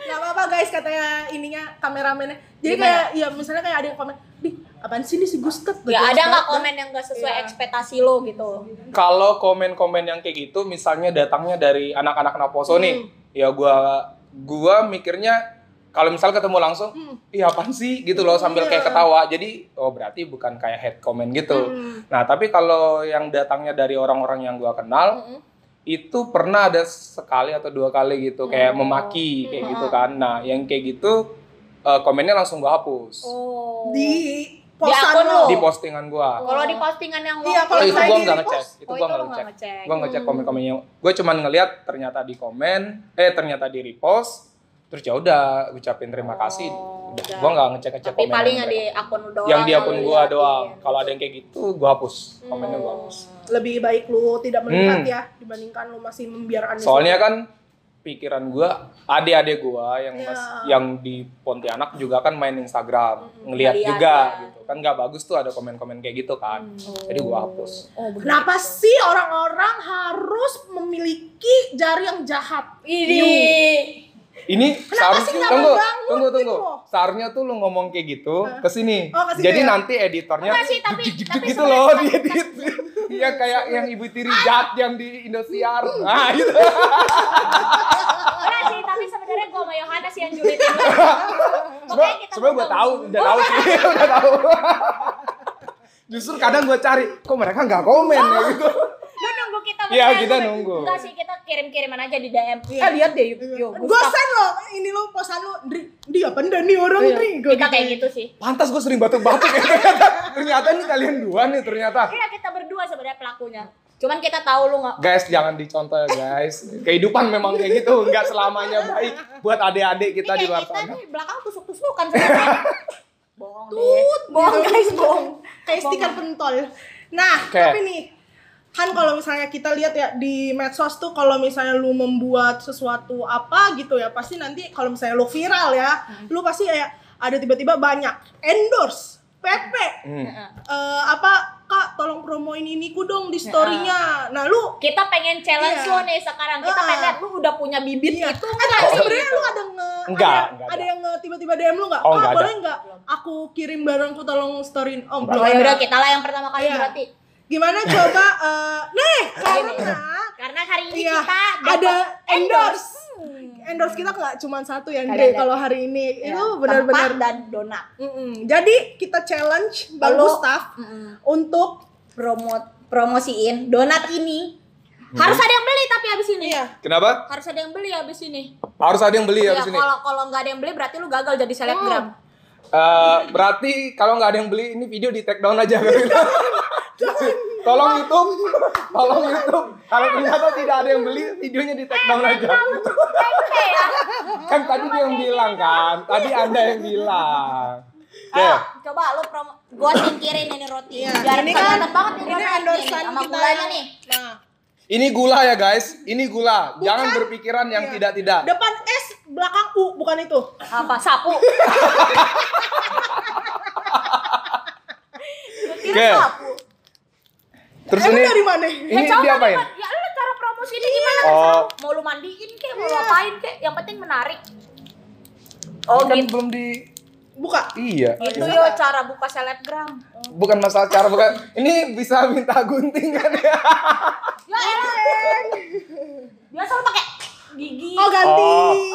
[SPEAKER 1] nggak apa-apa guys katanya ininya kameramennya jadi
[SPEAKER 2] Gimana?
[SPEAKER 1] kayak ya misalnya kayak ada yang komen di apaan sih ini si Gitu, Gustaf
[SPEAKER 2] Gak ada nggak komen ya? yang gak sesuai
[SPEAKER 1] Iya.
[SPEAKER 2] ekspektasi lo gitu.
[SPEAKER 3] kalau komen-komen yang kayak gitu misalnya datangnya dari anak-anak Naposo nih ya gua gua mikirnya kalau misal ketemu langsung iya apaan sih gitu loh sambil
[SPEAKER 1] Iya.
[SPEAKER 3] kayak ketawa jadi oh berarti bukan kayak head comment gitu
[SPEAKER 8] Hmm.
[SPEAKER 3] nah tapi kalau yang datangnya dari orang-orang yang gua kenal itu pernah ada sekali atau dua kali gitu kayak memaki kayak
[SPEAKER 2] Hmm.
[SPEAKER 3] gitu kan nah yang kayak gitu eh, komennya langsung gua hapus
[SPEAKER 2] Oh.
[SPEAKER 1] di
[SPEAKER 2] Di
[SPEAKER 1] posan
[SPEAKER 2] akun
[SPEAKER 1] lo
[SPEAKER 2] lo.
[SPEAKER 3] di postingan gua
[SPEAKER 2] Kalau di postingan yang lo
[SPEAKER 1] Iya, Oh. kalau
[SPEAKER 3] Oh, itu
[SPEAKER 1] saya
[SPEAKER 3] gua
[SPEAKER 1] di
[SPEAKER 3] nggak
[SPEAKER 1] repost.
[SPEAKER 3] ngecek itu
[SPEAKER 2] Oh,
[SPEAKER 3] gua
[SPEAKER 2] itu
[SPEAKER 3] nggak
[SPEAKER 2] lo nggak
[SPEAKER 3] ngecek
[SPEAKER 2] ngecek. Hmm.
[SPEAKER 3] gue ngecek komen-komennya gue cuman ngelihat ternyata di komen eh ternyata di repost terus ya udah ucapin terima kasih
[SPEAKER 2] Oh,
[SPEAKER 3] udah
[SPEAKER 2] udah.
[SPEAKER 3] gue nggak ngecek ngecek
[SPEAKER 2] Tapi
[SPEAKER 3] komen
[SPEAKER 2] paling
[SPEAKER 3] yang
[SPEAKER 2] yang di
[SPEAKER 3] mereka.
[SPEAKER 2] akun lu doang. iya,
[SPEAKER 3] yang di
[SPEAKER 2] yang
[SPEAKER 3] akun
[SPEAKER 2] lu
[SPEAKER 3] gue
[SPEAKER 2] liatin.
[SPEAKER 3] doang kalau ada yang kayak gitu gue hapus komennya gue
[SPEAKER 2] Hmm.
[SPEAKER 3] hapus
[SPEAKER 1] lebih baik lu tidak melihat
[SPEAKER 3] Hmm.
[SPEAKER 1] ya dibandingkan lu masih membiarkan di
[SPEAKER 3] soalnya
[SPEAKER 1] situ.
[SPEAKER 3] kan pikiran gue adik-adik gue yang
[SPEAKER 2] Ya.
[SPEAKER 1] Iya.
[SPEAKER 3] mas yang di Pontianak juga kan main Instagram
[SPEAKER 2] ngeliat
[SPEAKER 3] ngelihat juga
[SPEAKER 2] ya.
[SPEAKER 3] gitu kan nggak bagus tuh ada komen-komen kayak gitu kan
[SPEAKER 2] Hmm.
[SPEAKER 3] jadi gue hapus
[SPEAKER 2] Oh, begitu.
[SPEAKER 1] kenapa sih orang-orang harus memiliki jari yang jahat
[SPEAKER 2] Ini.
[SPEAKER 3] Ini
[SPEAKER 1] sih
[SPEAKER 3] seharusnya
[SPEAKER 1] nggak
[SPEAKER 3] tunggu,
[SPEAKER 1] membangun
[SPEAKER 3] tunggu,
[SPEAKER 1] gitu?
[SPEAKER 3] tunggu. Seharusnya tuh lu ngomong kayak gitu ke sini.
[SPEAKER 1] Oh, ke sini
[SPEAKER 3] Jadi
[SPEAKER 1] ya?
[SPEAKER 3] nanti editornya
[SPEAKER 2] Enggak sih, tapi-
[SPEAKER 3] duk, duk, duk
[SPEAKER 2] tapi
[SPEAKER 3] gitu
[SPEAKER 2] sebenarnya
[SPEAKER 3] loh
[SPEAKER 2] kan-
[SPEAKER 3] dia edit. Iya kayak yang Ibu Tiri Jat yang di Indosiar. Nah, itu.
[SPEAKER 2] Enggak Oh, iya sih, tapi sebenarnya gue sama Yohanes yang <laughs> julitin lo.
[SPEAKER 3] Sebenarnya sebenarnya gua tahu,
[SPEAKER 2] Oh,
[SPEAKER 3] udah tahu sih, <laughs> udah tahu. Justru kadang gua cari, kok mereka nggak komen ya gitu.
[SPEAKER 2] Lu nunggu kita
[SPEAKER 3] Iya,
[SPEAKER 2] berdua,
[SPEAKER 3] kita
[SPEAKER 2] lu-
[SPEAKER 3] nunggu.
[SPEAKER 2] Enggak sih, kita kirim-kiriman aja di DM.
[SPEAKER 1] Iya.
[SPEAKER 2] Eh, lihat deh, yuk. yuk,
[SPEAKER 1] gue
[SPEAKER 2] Gustaf.
[SPEAKER 1] sen lo ini lu posan lu Dri dia apa ndak nih orang
[SPEAKER 2] Iya.
[SPEAKER 1] Dri Gua
[SPEAKER 2] Kita kayak gitu sih.
[SPEAKER 3] Pantas gua sering batuk-batuk ya ternyata. Ternyata ini kalian dua nih ternyata.
[SPEAKER 2] Iya, kita berdua sebenarnya pelakunya. Cuman kita tahu lu nggak
[SPEAKER 3] Guys, jangan dicontoh ya guys. Kehidupan memang kayak gitu, nggak selamanya baik buat adik-adik kita
[SPEAKER 2] Ini
[SPEAKER 3] di luar
[SPEAKER 2] kayak Iya, kita
[SPEAKER 3] sana.
[SPEAKER 2] nih belakang tusuk-tusukan sebenarnya. bohong deh. Bohong
[SPEAKER 1] Gitu.
[SPEAKER 2] guys, bohong.
[SPEAKER 1] <laughs> kayak stiker pentol. Nah,
[SPEAKER 3] Oke.
[SPEAKER 1] tapi nih kan kalau misalnya kita lihat ya di medsos tuh kalau misalnya lu membuat sesuatu apa gitu ya pasti nanti kalau misalnya lu viral ya,
[SPEAKER 2] Hmm.
[SPEAKER 1] lu pasti kayak ada tiba-tiba banyak endorse, PP,
[SPEAKER 3] Hmm.
[SPEAKER 1] eh, apa kak tolong promoin ini ku dong di
[SPEAKER 2] Ya.
[SPEAKER 1] story-nya. Nah, lu
[SPEAKER 2] Kita pengen challenge
[SPEAKER 1] Iya.
[SPEAKER 2] lo nih sekarang. Kita
[SPEAKER 1] Ah.
[SPEAKER 2] pengen lihat lu udah punya bibit
[SPEAKER 1] Iya.
[SPEAKER 2] itu
[SPEAKER 1] Eh,
[SPEAKER 2] enggak
[SPEAKER 1] tapi
[SPEAKER 2] sih?
[SPEAKER 1] sebenarnya lu ada nge
[SPEAKER 3] Enggak,
[SPEAKER 1] ada,
[SPEAKER 3] enggak
[SPEAKER 1] ada
[SPEAKER 3] ada.
[SPEAKER 1] yang nge tiba-tiba DM lu enggak? "Kak,
[SPEAKER 3] Oh, enggak ada.
[SPEAKER 1] boleh enggak aku kirim barangku tolong storyin? Oh,
[SPEAKER 3] Enggak.
[SPEAKER 1] belum
[SPEAKER 2] Oh ya
[SPEAKER 1] ada.
[SPEAKER 2] udah kita lah yang pertama kali
[SPEAKER 1] Iya.
[SPEAKER 2] berarti.
[SPEAKER 1] Gimana coba eh nih karena
[SPEAKER 2] Karena hari ini
[SPEAKER 1] Iya,
[SPEAKER 2] kita
[SPEAKER 1] ada
[SPEAKER 2] dapat
[SPEAKER 1] endorse.
[SPEAKER 2] Hmm.
[SPEAKER 1] endorse kita nggak cuma satu ya
[SPEAKER 2] Kalian
[SPEAKER 1] Andre
[SPEAKER 2] lihat.
[SPEAKER 1] kalau hari ini
[SPEAKER 2] Ya,
[SPEAKER 1] itu
[SPEAKER 2] tempat
[SPEAKER 1] benar-benar
[SPEAKER 2] dan donat.
[SPEAKER 1] Mm-mm. jadi kita challenge Bang
[SPEAKER 2] Kalau-
[SPEAKER 1] Gustaf untuk
[SPEAKER 2] Promo promosiin donat ini. Harus ada yang beli tapi abis ini.
[SPEAKER 1] Iya.
[SPEAKER 3] Kenapa?
[SPEAKER 2] Harus ada yang beli abis ini.
[SPEAKER 3] Harus ada yang beli
[SPEAKER 2] Iya,
[SPEAKER 3] ya di sini.
[SPEAKER 2] kalau kalau nggak ada yang beli berarti lu gagal jadi selebgram.
[SPEAKER 1] Oh.
[SPEAKER 3] Eh, berarti kalau nggak ada yang beli ini video di take down aja. gua
[SPEAKER 2] Iya.
[SPEAKER 3] bilang. <laughs> tolong YouTube, tolong YouTube. Kalau ternyata tidak ada yang beli, videonya di take down
[SPEAKER 2] Iya,
[SPEAKER 3] aja. kan tadi dia yang bilang kan, tadi anda yang bilang. Oke,
[SPEAKER 2] Ayo, coba lu promo gua singkirin ini roti.
[SPEAKER 1] Iya,
[SPEAKER 2] Biar
[SPEAKER 1] ini
[SPEAKER 2] kelihatan
[SPEAKER 1] kan-
[SPEAKER 2] banget
[SPEAKER 1] ini
[SPEAKER 2] roti
[SPEAKER 1] endorsean
[SPEAKER 2] sama
[SPEAKER 1] kita
[SPEAKER 2] gulanya
[SPEAKER 1] yang-
[SPEAKER 2] nih.
[SPEAKER 1] nah
[SPEAKER 3] ini gula ya guys, ini gula. Jangan berpikiran yang
[SPEAKER 1] Iya.
[SPEAKER 3] tidak-tidak.
[SPEAKER 1] depan S belakang U bukan itu
[SPEAKER 2] Apa
[SPEAKER 3] <laughs>
[SPEAKER 2] sapu? Gua kira
[SPEAKER 3] Oke.
[SPEAKER 2] sapu.
[SPEAKER 3] Terus
[SPEAKER 1] Eh, lu
[SPEAKER 3] ini,
[SPEAKER 1] dari mana
[SPEAKER 3] ini
[SPEAKER 2] coba
[SPEAKER 3] diapain?
[SPEAKER 2] lu- Ya lu cara promosi ini gimana?
[SPEAKER 3] Oh.
[SPEAKER 2] Terserah. Mau lu gitu. mandiin kek, mau lu apain kek, yang penting menarik. Oh,
[SPEAKER 3] kan
[SPEAKER 2] gitu.
[SPEAKER 3] belum di
[SPEAKER 1] buka.
[SPEAKER 3] Iya.
[SPEAKER 2] Itu yo cara buka selebgram.
[SPEAKER 3] Bukan masalah cara bukan. Ini bisa minta gunting kan ya?
[SPEAKER 2] Ya elah. Biasa lu pakai gigi.
[SPEAKER 1] Oh ganti.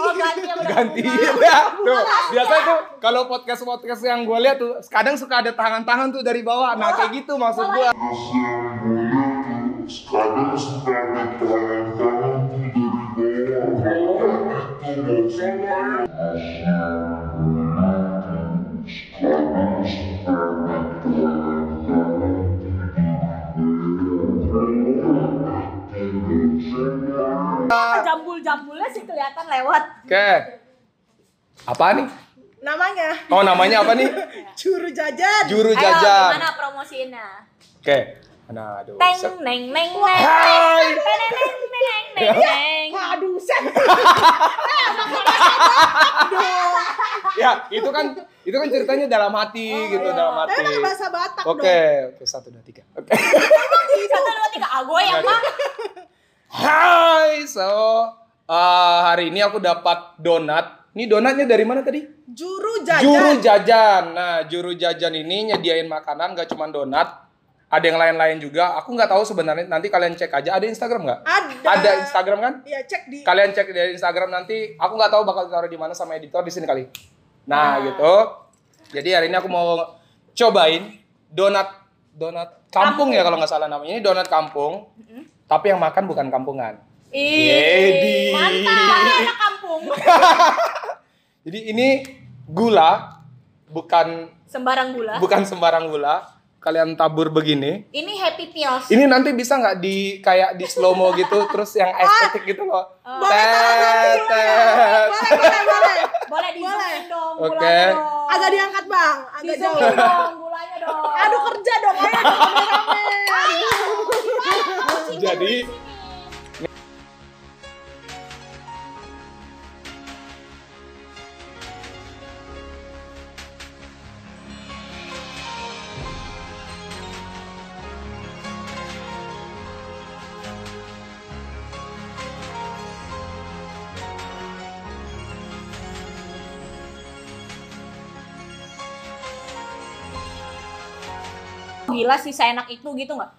[SPEAKER 2] Oh, ganti yang udah
[SPEAKER 3] Gantiin
[SPEAKER 2] bunga.
[SPEAKER 3] <laughs> ya. Tuh, biasanya tuh kalau podcast-podcast yang gue lihat tuh kadang suka ada tangan-tangan tuh dari bawah. Nah, kayak gitu maksud gue.
[SPEAKER 2] Jambul-jambulnya sih kelihatan lewat.
[SPEAKER 3] Oke. Apa nih?
[SPEAKER 1] Namanya
[SPEAKER 3] Oh, namanya apa nih?
[SPEAKER 1] Juru Jajan.
[SPEAKER 3] Juru
[SPEAKER 2] Ayo,
[SPEAKER 3] jajan.
[SPEAKER 2] gimana promosiinnya?
[SPEAKER 3] Oke. Nah, aduh.
[SPEAKER 2] Teng
[SPEAKER 3] set.
[SPEAKER 2] neng neng neng.
[SPEAKER 3] Hai.
[SPEAKER 2] Neng neng neng neng neng
[SPEAKER 1] <laughs>
[SPEAKER 2] neng.
[SPEAKER 1] Aduh, sen.
[SPEAKER 3] Ya, itu kan itu kan ceritanya dalam hati gitu, dalam
[SPEAKER 1] Oh, iya. Tapi
[SPEAKER 3] hati.
[SPEAKER 1] pakai bahasa Batak
[SPEAKER 3] Oke,
[SPEAKER 1] dong.
[SPEAKER 3] oke satu dua tiga. Oke.
[SPEAKER 1] Iya.
[SPEAKER 2] Satu dua tiga. Ah gue yang mah.
[SPEAKER 3] Hai, so uh, hari ini aku dapat donat. Ini donatnya dari mana tadi?
[SPEAKER 1] Juru Jajan.
[SPEAKER 3] Juru jajan. Nah, juru jajan ini nyediain makanan gak cuma donat. Ada yang lain-lain juga. Aku nggak tahu sebenarnya. Nanti kalian cek aja. Ada Instagram nggak?
[SPEAKER 1] Ada.
[SPEAKER 3] Ada Instagram kan?
[SPEAKER 1] Iya, cek di
[SPEAKER 3] Kalian cek dari Instagram nanti. Aku nggak tahu bakal taruh di mana sama editor di sini kali. Nah, gitu. Jadi hari ini aku mau cobain donat donat kampung, ya kalau nggak salah namanya. Ini donat kampung. Tapi yang makan bukan kampungan.
[SPEAKER 1] Iya,
[SPEAKER 2] Ih.
[SPEAKER 3] Yedi.
[SPEAKER 2] Mantap. Anak kampung.
[SPEAKER 3] Jadi ini gula bukan
[SPEAKER 2] Sembarang gula.
[SPEAKER 3] bukan sembarang gula. Kalian tabur begini.
[SPEAKER 2] Ini happy
[SPEAKER 1] Ya,
[SPEAKER 2] pills.
[SPEAKER 3] Ini nanti bisa nggak di kayak di slow mo gitu, terus yang estetik gitu loh. Tet, tet. <laughs>
[SPEAKER 1] Boleh, boleh, boleh.
[SPEAKER 2] Boleh di zoom dong.
[SPEAKER 3] Oke.
[SPEAKER 2] Gulanya dong.
[SPEAKER 1] Agak diangkat, Bang.
[SPEAKER 2] Di
[SPEAKER 1] Agak
[SPEAKER 2] zoom
[SPEAKER 1] jauh.
[SPEAKER 2] dong. Gulanya dong.
[SPEAKER 1] Aduh, kerja dong. Ayo, rame-rame.
[SPEAKER 3] Jadi
[SPEAKER 2] Gila sih seenak itu gitu nggak?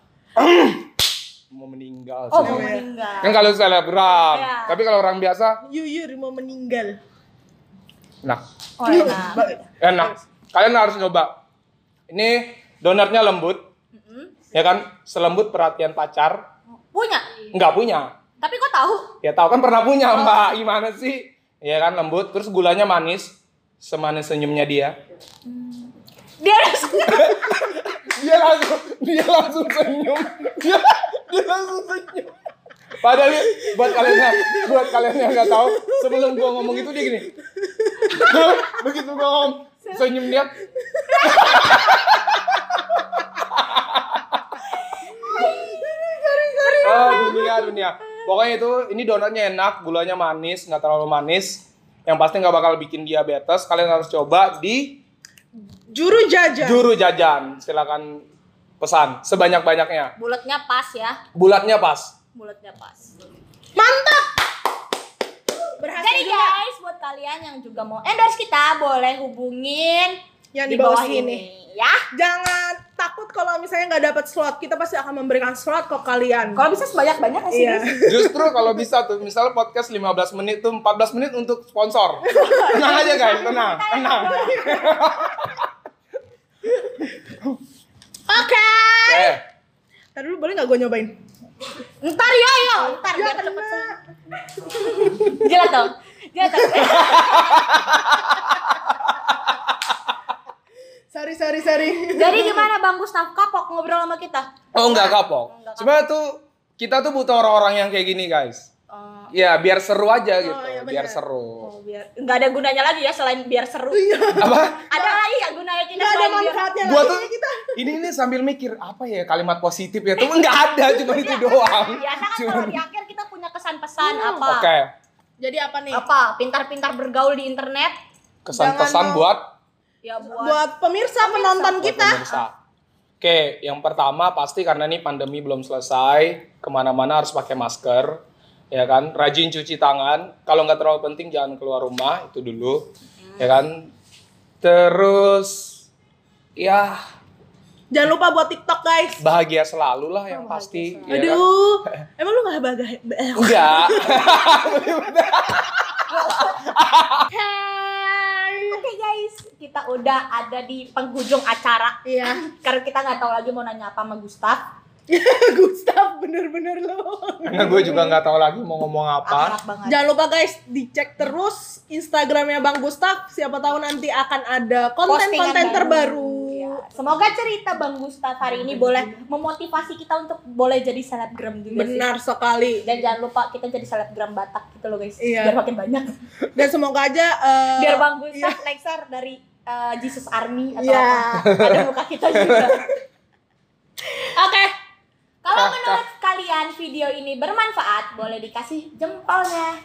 [SPEAKER 3] mau meninggal.
[SPEAKER 2] Oh,
[SPEAKER 3] sih.
[SPEAKER 2] mau meninggal.
[SPEAKER 3] Kan kalau selebgram,
[SPEAKER 2] Iya.
[SPEAKER 3] tapi kalau orang biasa,
[SPEAKER 1] Yuyur mau meninggal.
[SPEAKER 3] nah
[SPEAKER 2] Oh, enak.
[SPEAKER 3] enak. Kalian harus nyoba. Ini donatnya lembut, ya kan? Selembut perhatian pacar,
[SPEAKER 2] Punya.
[SPEAKER 3] nggak punya.
[SPEAKER 2] Tapi kok tahu?
[SPEAKER 3] Ya tahu kan pernah punya Mbak, gimana sih? Ya kan lembut, terus gulanya manis, semanis senyumnya dia.
[SPEAKER 2] Dia udah
[SPEAKER 3] Dia langsung dia langsung senyum. Dia, dia langsung senyum. Padahal dia- buat kalian yang buat kalian yang nggak tahu, sebelum gua ngomong itu dia gini. Terus, Begitu gua ngomong senyum dia. Oh, dunia dunia. Pokoknya itu ini donatnya enak, gulanya manis, nggak terlalu manis. Yang pasti nggak bakal bikin diabetes. Kalian harus coba di
[SPEAKER 1] Juru Jajan.
[SPEAKER 3] juru jajan silakan pesan sebanyak banyaknya
[SPEAKER 2] bulatnya pas ya.
[SPEAKER 3] bulatnya pas
[SPEAKER 2] Bulatnya pas.
[SPEAKER 1] Mantap. Berhasil
[SPEAKER 2] Jadi
[SPEAKER 1] juga.
[SPEAKER 2] guys, buat kalian yang juga mau endorse kita boleh hubungin
[SPEAKER 1] Yang di
[SPEAKER 2] di
[SPEAKER 1] bawah
[SPEAKER 2] bawah
[SPEAKER 1] sini.
[SPEAKER 2] ini ya.
[SPEAKER 1] Jangan takut kalau misalnya nggak dapat slot, kita pasti akan memberikan slot ke kalian.
[SPEAKER 2] Kalau bisa sebanyak-banyak kasih.
[SPEAKER 1] Iya.
[SPEAKER 3] justru kalau bisa tuh misalnya podcast 15 menit tuh 14 menit untuk sponsor tenang aja guys tenang tenang
[SPEAKER 2] Oke.
[SPEAKER 3] eh
[SPEAKER 1] Tadi dulu boleh nggak gue nyobain?
[SPEAKER 2] Ntar ya, ya. Ntar
[SPEAKER 1] Ya,
[SPEAKER 2] biar cepet
[SPEAKER 1] kena.
[SPEAKER 2] sembuh. <laughs> Gila tuh. Gila tuh.
[SPEAKER 1] Sorry, sorry, sorry.
[SPEAKER 2] Jadi gimana Bang Gustaf kapok ngobrol sama kita?
[SPEAKER 3] oh nggak kapok sebenarnya tuh kita tuh butuh orang-orang yang kayak gini guys
[SPEAKER 2] Oh,
[SPEAKER 3] ya biar seru aja gitu
[SPEAKER 1] iya, bener.
[SPEAKER 3] biar seru
[SPEAKER 2] biar nggak ada gunanya lagi ya selain biar seru.
[SPEAKER 3] apa
[SPEAKER 2] Ada lagi nggak gunanya kita
[SPEAKER 1] Iya. Nggak ada
[SPEAKER 2] selain biar
[SPEAKER 1] manfaatnya
[SPEAKER 3] gua
[SPEAKER 1] lagi
[SPEAKER 3] tuh
[SPEAKER 1] nih Iya, kita.
[SPEAKER 3] ini ini sambil mikir apa ya kalimat positif ya tuh nggak ada cuma itu doang
[SPEAKER 2] Biasa kan
[SPEAKER 3] Cuma-
[SPEAKER 2] kalau di akhir kita punya kesan-pesan
[SPEAKER 1] Hmm.
[SPEAKER 2] apa?
[SPEAKER 3] oke
[SPEAKER 1] Jadi apa nih?
[SPEAKER 2] Apa? Pintar-pintar bergaul di internet?
[SPEAKER 1] Jangan
[SPEAKER 3] kesan-kesan
[SPEAKER 1] mau-
[SPEAKER 3] buat
[SPEAKER 2] Ya buat,
[SPEAKER 1] Buat pemirsa, penonton
[SPEAKER 3] buat
[SPEAKER 1] kita.
[SPEAKER 3] pemirsa. Oke, yang pertama pasti karena ini pandemi belum selesai, kemana-mana harus pakai masker, ya kan? Rajin cuci tangan. Kalau nggak terlalu penting jangan keluar rumah itu dulu, ya kan? Terus ya
[SPEAKER 1] Jangan lupa buat TikTok guys.
[SPEAKER 3] bahagia selalu lah yang
[SPEAKER 2] Oh,
[SPEAKER 3] pasti.
[SPEAKER 2] bahagia
[SPEAKER 3] ya kan?
[SPEAKER 1] Aduh, emang lu eh. gak bahagia?
[SPEAKER 3] Enggak.
[SPEAKER 2] Hai. Oke guys, kita udah ada di penghujung acara.
[SPEAKER 1] Iya,
[SPEAKER 2] Karena kita nggak tahu lagi mau nanya apa sama Gustaf.
[SPEAKER 1] <laughs> Gustaf bener-bener lu.
[SPEAKER 3] Karena gue juga nggak tahu lagi mau ngomong apa.
[SPEAKER 2] Akrab banget.
[SPEAKER 1] Jangan lupa guys, dicek terus Instagramnya Bang Gustaf. Siapa tahu nanti akan ada konten-konten
[SPEAKER 2] Postingan
[SPEAKER 1] terbaru.
[SPEAKER 2] Iya. Semoga cerita Bang Gustaf hari ini boleh memotivasi kita untuk boleh jadi selebgram juga sih.
[SPEAKER 1] Benar sekali.
[SPEAKER 2] Dan jangan lupa kita jadi selebgram Batak gitu loh guys.
[SPEAKER 1] Iya.
[SPEAKER 2] Biar makin banyak.
[SPEAKER 1] Dan semoga aja eh,
[SPEAKER 2] Biar Bang Gustaf Lexar dari eh, Jesus Army atau
[SPEAKER 1] Iya.
[SPEAKER 2] apa. Ada muka kita
[SPEAKER 1] <laughs>
[SPEAKER 2] juga. Oke. Kalau
[SPEAKER 3] Ah,
[SPEAKER 2] menurut kalian video ini bermanfaat, boleh dikasih jempolnya.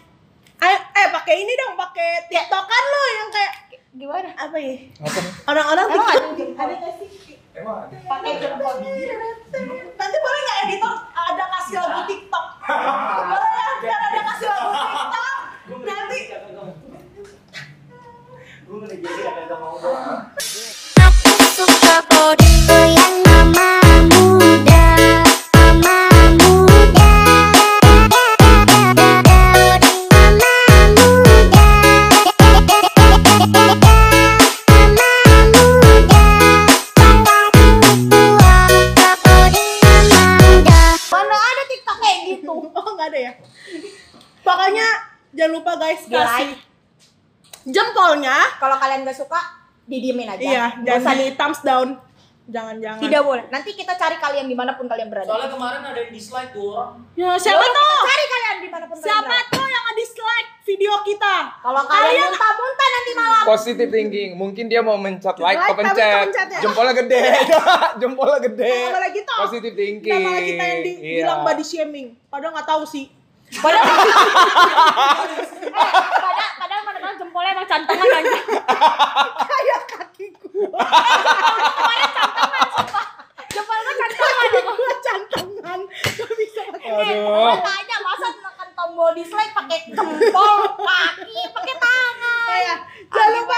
[SPEAKER 1] Ayo, eh pakai ini dong, pakai TikTok kan lo yang kayak
[SPEAKER 2] Gimana?
[SPEAKER 1] apa ya?
[SPEAKER 3] Apa?
[SPEAKER 1] Orang-orang
[SPEAKER 2] Emang
[SPEAKER 1] TikTok.
[SPEAKER 2] ada ada nggak sih?
[SPEAKER 6] Pakai jempol gigi.
[SPEAKER 1] Nanti boleh nggak editor ada kasih lagu TikTok? Boleh ya? Ntar ada kasih lagu TikTok. Nanti
[SPEAKER 8] Aku suka body yang mama muda, mama muda, body mama muda, mama muda, badanku tua, body mama
[SPEAKER 2] Mana ada TikTok kayak gitu?
[SPEAKER 1] oh nggak ada ya. Pokoknya jangan lupa guys
[SPEAKER 2] Di
[SPEAKER 1] kasih
[SPEAKER 2] like.
[SPEAKER 1] jempolnya.
[SPEAKER 2] Kalau kalian nggak suka, didiemin aja.
[SPEAKER 1] Iya,
[SPEAKER 2] Ya, Nggak
[SPEAKER 1] jangan
[SPEAKER 2] usah
[SPEAKER 1] di
[SPEAKER 2] di-
[SPEAKER 1] thumbs down. Jangan-jangan.
[SPEAKER 2] Tidak boleh. Nanti kita cari kalian dimanapun kalian berada.
[SPEAKER 9] Soalnya kemarin ada yang dislike tuh orang.
[SPEAKER 1] Ya, siapa
[SPEAKER 2] Boleh kita
[SPEAKER 1] tuh?
[SPEAKER 2] cari kalian dimanapun kalian
[SPEAKER 1] Siapa
[SPEAKER 2] berada.
[SPEAKER 1] tuh yang nge-dislike video kita?
[SPEAKER 2] Kalau kalian
[SPEAKER 1] Kalian-
[SPEAKER 2] muntah-muntah nanti malam.
[SPEAKER 3] Positive thinking. Mungkin dia mau mencet like,
[SPEAKER 1] Like, tapi
[SPEAKER 3] kepencet.
[SPEAKER 1] kepencet ya.
[SPEAKER 3] Jempolnya gede. <laughs> Jempolnya gede.
[SPEAKER 1] Nggak boleh gitu.
[SPEAKER 3] Positive thinking.
[SPEAKER 1] Kita malah kita yang di-
[SPEAKER 3] Iya.
[SPEAKER 1] bilang
[SPEAKER 3] <laughs>
[SPEAKER 1] body shaming. Padahal nggak tahu
[SPEAKER 2] <laughs>
[SPEAKER 1] sih.
[SPEAKER 2] Padahal, eh, padahal, padahal kadang-kadang jempolnya emang cantongan aja.
[SPEAKER 1] Kayak kaki gua.
[SPEAKER 2] Jempol gua cantongan.
[SPEAKER 1] Kaki gua cantongan. Gak bisa pakai.
[SPEAKER 2] Eh, gua tanya masa neken tombol dislike pakai jempol, kaki, pakai tangan.
[SPEAKER 1] Iya. Jangan lupa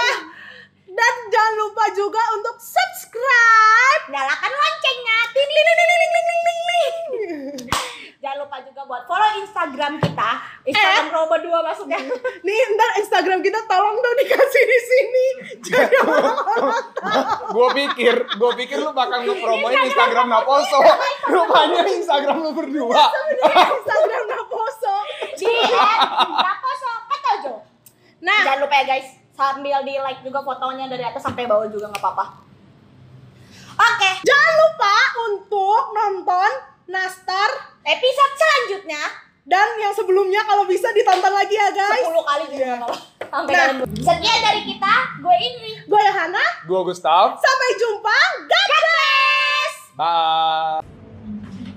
[SPEAKER 1] dan jangan lupa juga untuk subscribe.
[SPEAKER 2] Nyalakan loncengnya. Ting, ling, ling, ling, ling, ling, ling, ling, ling. Jangan lupa juga buat follow Instagram kita. Instagram Robo 2
[SPEAKER 1] <laughs>
[SPEAKER 2] maksudnya.
[SPEAKER 1] Nih ntar Instagram kita tolong dong dikasih di sini.
[SPEAKER 3] Iya.
[SPEAKER 1] Jadi orang-orang
[SPEAKER 3] Gue pikir, gue pikir lu bakal
[SPEAKER 1] Iya,
[SPEAKER 3] ngepromoin
[SPEAKER 1] kan?
[SPEAKER 3] Instagram Naposo. Rupanya Instagram lu
[SPEAKER 1] Iya,
[SPEAKER 3] berdua.
[SPEAKER 1] sebenarnya Instagram Naposo.
[SPEAKER 2] Di Raposo Ketojo.
[SPEAKER 1] Nah,
[SPEAKER 2] Jangan lupa ya guys, sambil di like juga fotonya dari atas sampai bawah juga nggak apa-apa. Oke,
[SPEAKER 1] jangan lupa untuk nonton Nastar
[SPEAKER 2] episode selanjutnya
[SPEAKER 1] dan yang sebelumnya kalau bisa ditonton lagi ya guys.
[SPEAKER 2] 10 kali juga
[SPEAKER 1] Iya.
[SPEAKER 2] nggak apa-apa. Sampai
[SPEAKER 1] Nah.
[SPEAKER 2] kalian berubah. Sekian dari kita, gue Indri.
[SPEAKER 1] Gue Yohana,
[SPEAKER 3] Gue Gustaf.
[SPEAKER 1] sampai jumpa. God bless.
[SPEAKER 3] Bye.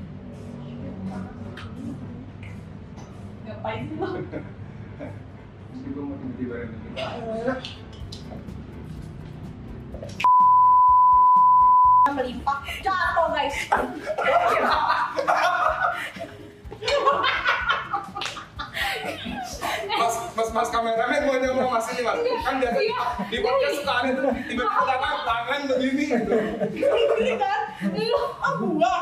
[SPEAKER 2] Melimpah, jatuh guys.
[SPEAKER 3] mas mas mas kameramen mau nyolong mas ini mas kan biasa di podcast suka ada tuh tiba-tiba tangan tangan begini gitu
[SPEAKER 1] Ini kan, lu, ah gua.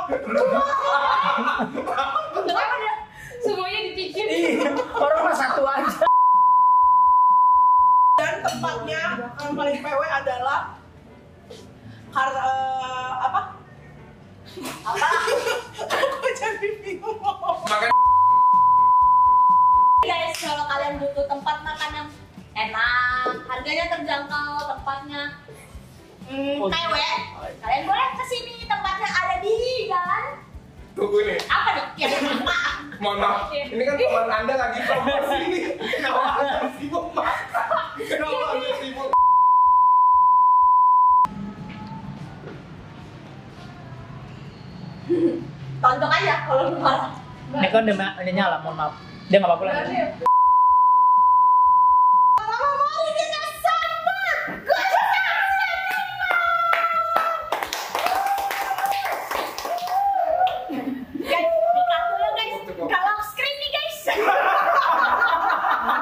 [SPEAKER 5] Semuanya dipikir.
[SPEAKER 1] Dan tempatnya yang paling PW adalah kar eh, apa? Apa? <laughs> Aku jadi bingung.
[SPEAKER 3] makan
[SPEAKER 2] guys kalau kalian butuh tempat makan yang enak harganya terjangkau tempatnya hmm, PW kalian boleh kesini tempatnya ada di jalan
[SPEAKER 3] tunggu nih
[SPEAKER 2] apa nih ya apa
[SPEAKER 3] mohon maaf ini kan teman anda lagi promosi ini kenapa anda sibuk mas kenapa anda sibuk
[SPEAKER 2] tonton aja kalau lu marah
[SPEAKER 9] Ini kan udah, udah nyala, mohon maaf. Dia nggak apa-apa lah.
[SPEAKER 2] guys dikat dulu guys kalau screen nih guys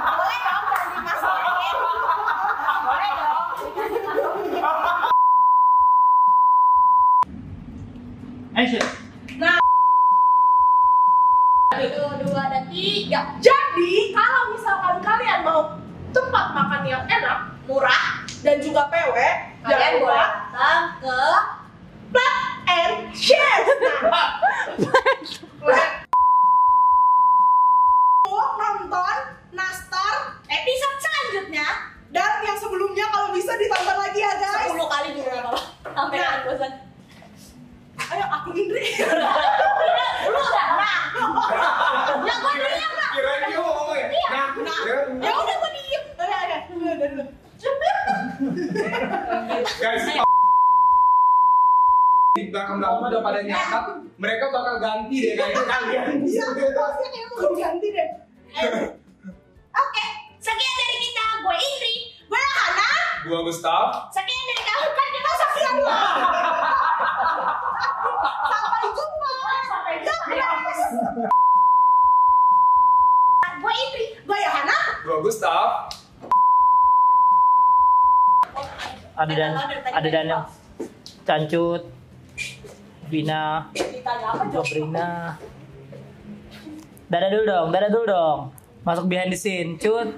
[SPEAKER 2] boleh dong kalau dimasukin boleh dong
[SPEAKER 9] Action.
[SPEAKER 2] Satu, dua, dan tiga.
[SPEAKER 1] Jadi kalau misalkan kalian mau tempat makan yang enak, murah dan juga PW, jangan
[SPEAKER 2] Kalian boleh
[SPEAKER 1] lupa
[SPEAKER 2] datang ke
[SPEAKER 1] plug and
[SPEAKER 2] <laughs>
[SPEAKER 1] share. Nah, plug- Mau nonton Nastar
[SPEAKER 2] episode selanjutnya.
[SPEAKER 1] dan yang sebelumnya kalau bisa ditonton lagi ya guys.
[SPEAKER 2] 10 kali juga gak apa-apa. Sampai
[SPEAKER 1] Nah.
[SPEAKER 2] kalian bosan.
[SPEAKER 1] Ayo aku
[SPEAKER 2] <laughs>
[SPEAKER 1] Indri.
[SPEAKER 2] Lu udah lah. Ya gue dulu yang lah.
[SPEAKER 3] Kirain dia mau ngomong ya? Nah, nah.
[SPEAKER 1] ya udah gue diem. Udah, udah, udah, udah, udah.
[SPEAKER 3] Guys, di belakang belakang udah pada nyatat, mereka bakal ganti deh kayaknya kalian.
[SPEAKER 1] Iya, bosnya kayaknya mau ganti deh.
[SPEAKER 2] Oke, sekian dari kita. Gue Indri. Gue Hana.
[SPEAKER 3] Gua Gustaf.
[SPEAKER 2] Sekian dari kamu. Kan kita sekian lah. Sampai jumpa. Sampai jumpa. Gue Indri.
[SPEAKER 1] Gue ya Hana.
[SPEAKER 3] Gua Gustaf.
[SPEAKER 9] Ada dan ada dan yang cancut. Vina,
[SPEAKER 2] Ditanya apa Jo?
[SPEAKER 9] Jobrina. Dadah dulu dong, dadah dulu dong. Masuk behind the scene, cut.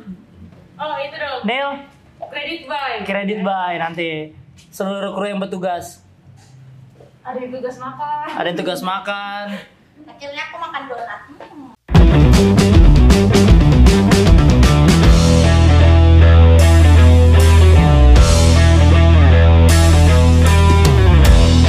[SPEAKER 2] Oh itu dong.
[SPEAKER 9] Neil,
[SPEAKER 2] Credit by.
[SPEAKER 9] kredit by nanti seluruh kru yang bertugas.
[SPEAKER 2] Ada yang tugas makan.
[SPEAKER 9] Ada yang tugas makan,
[SPEAKER 2] Akhirnya aku makan donat. Hmm.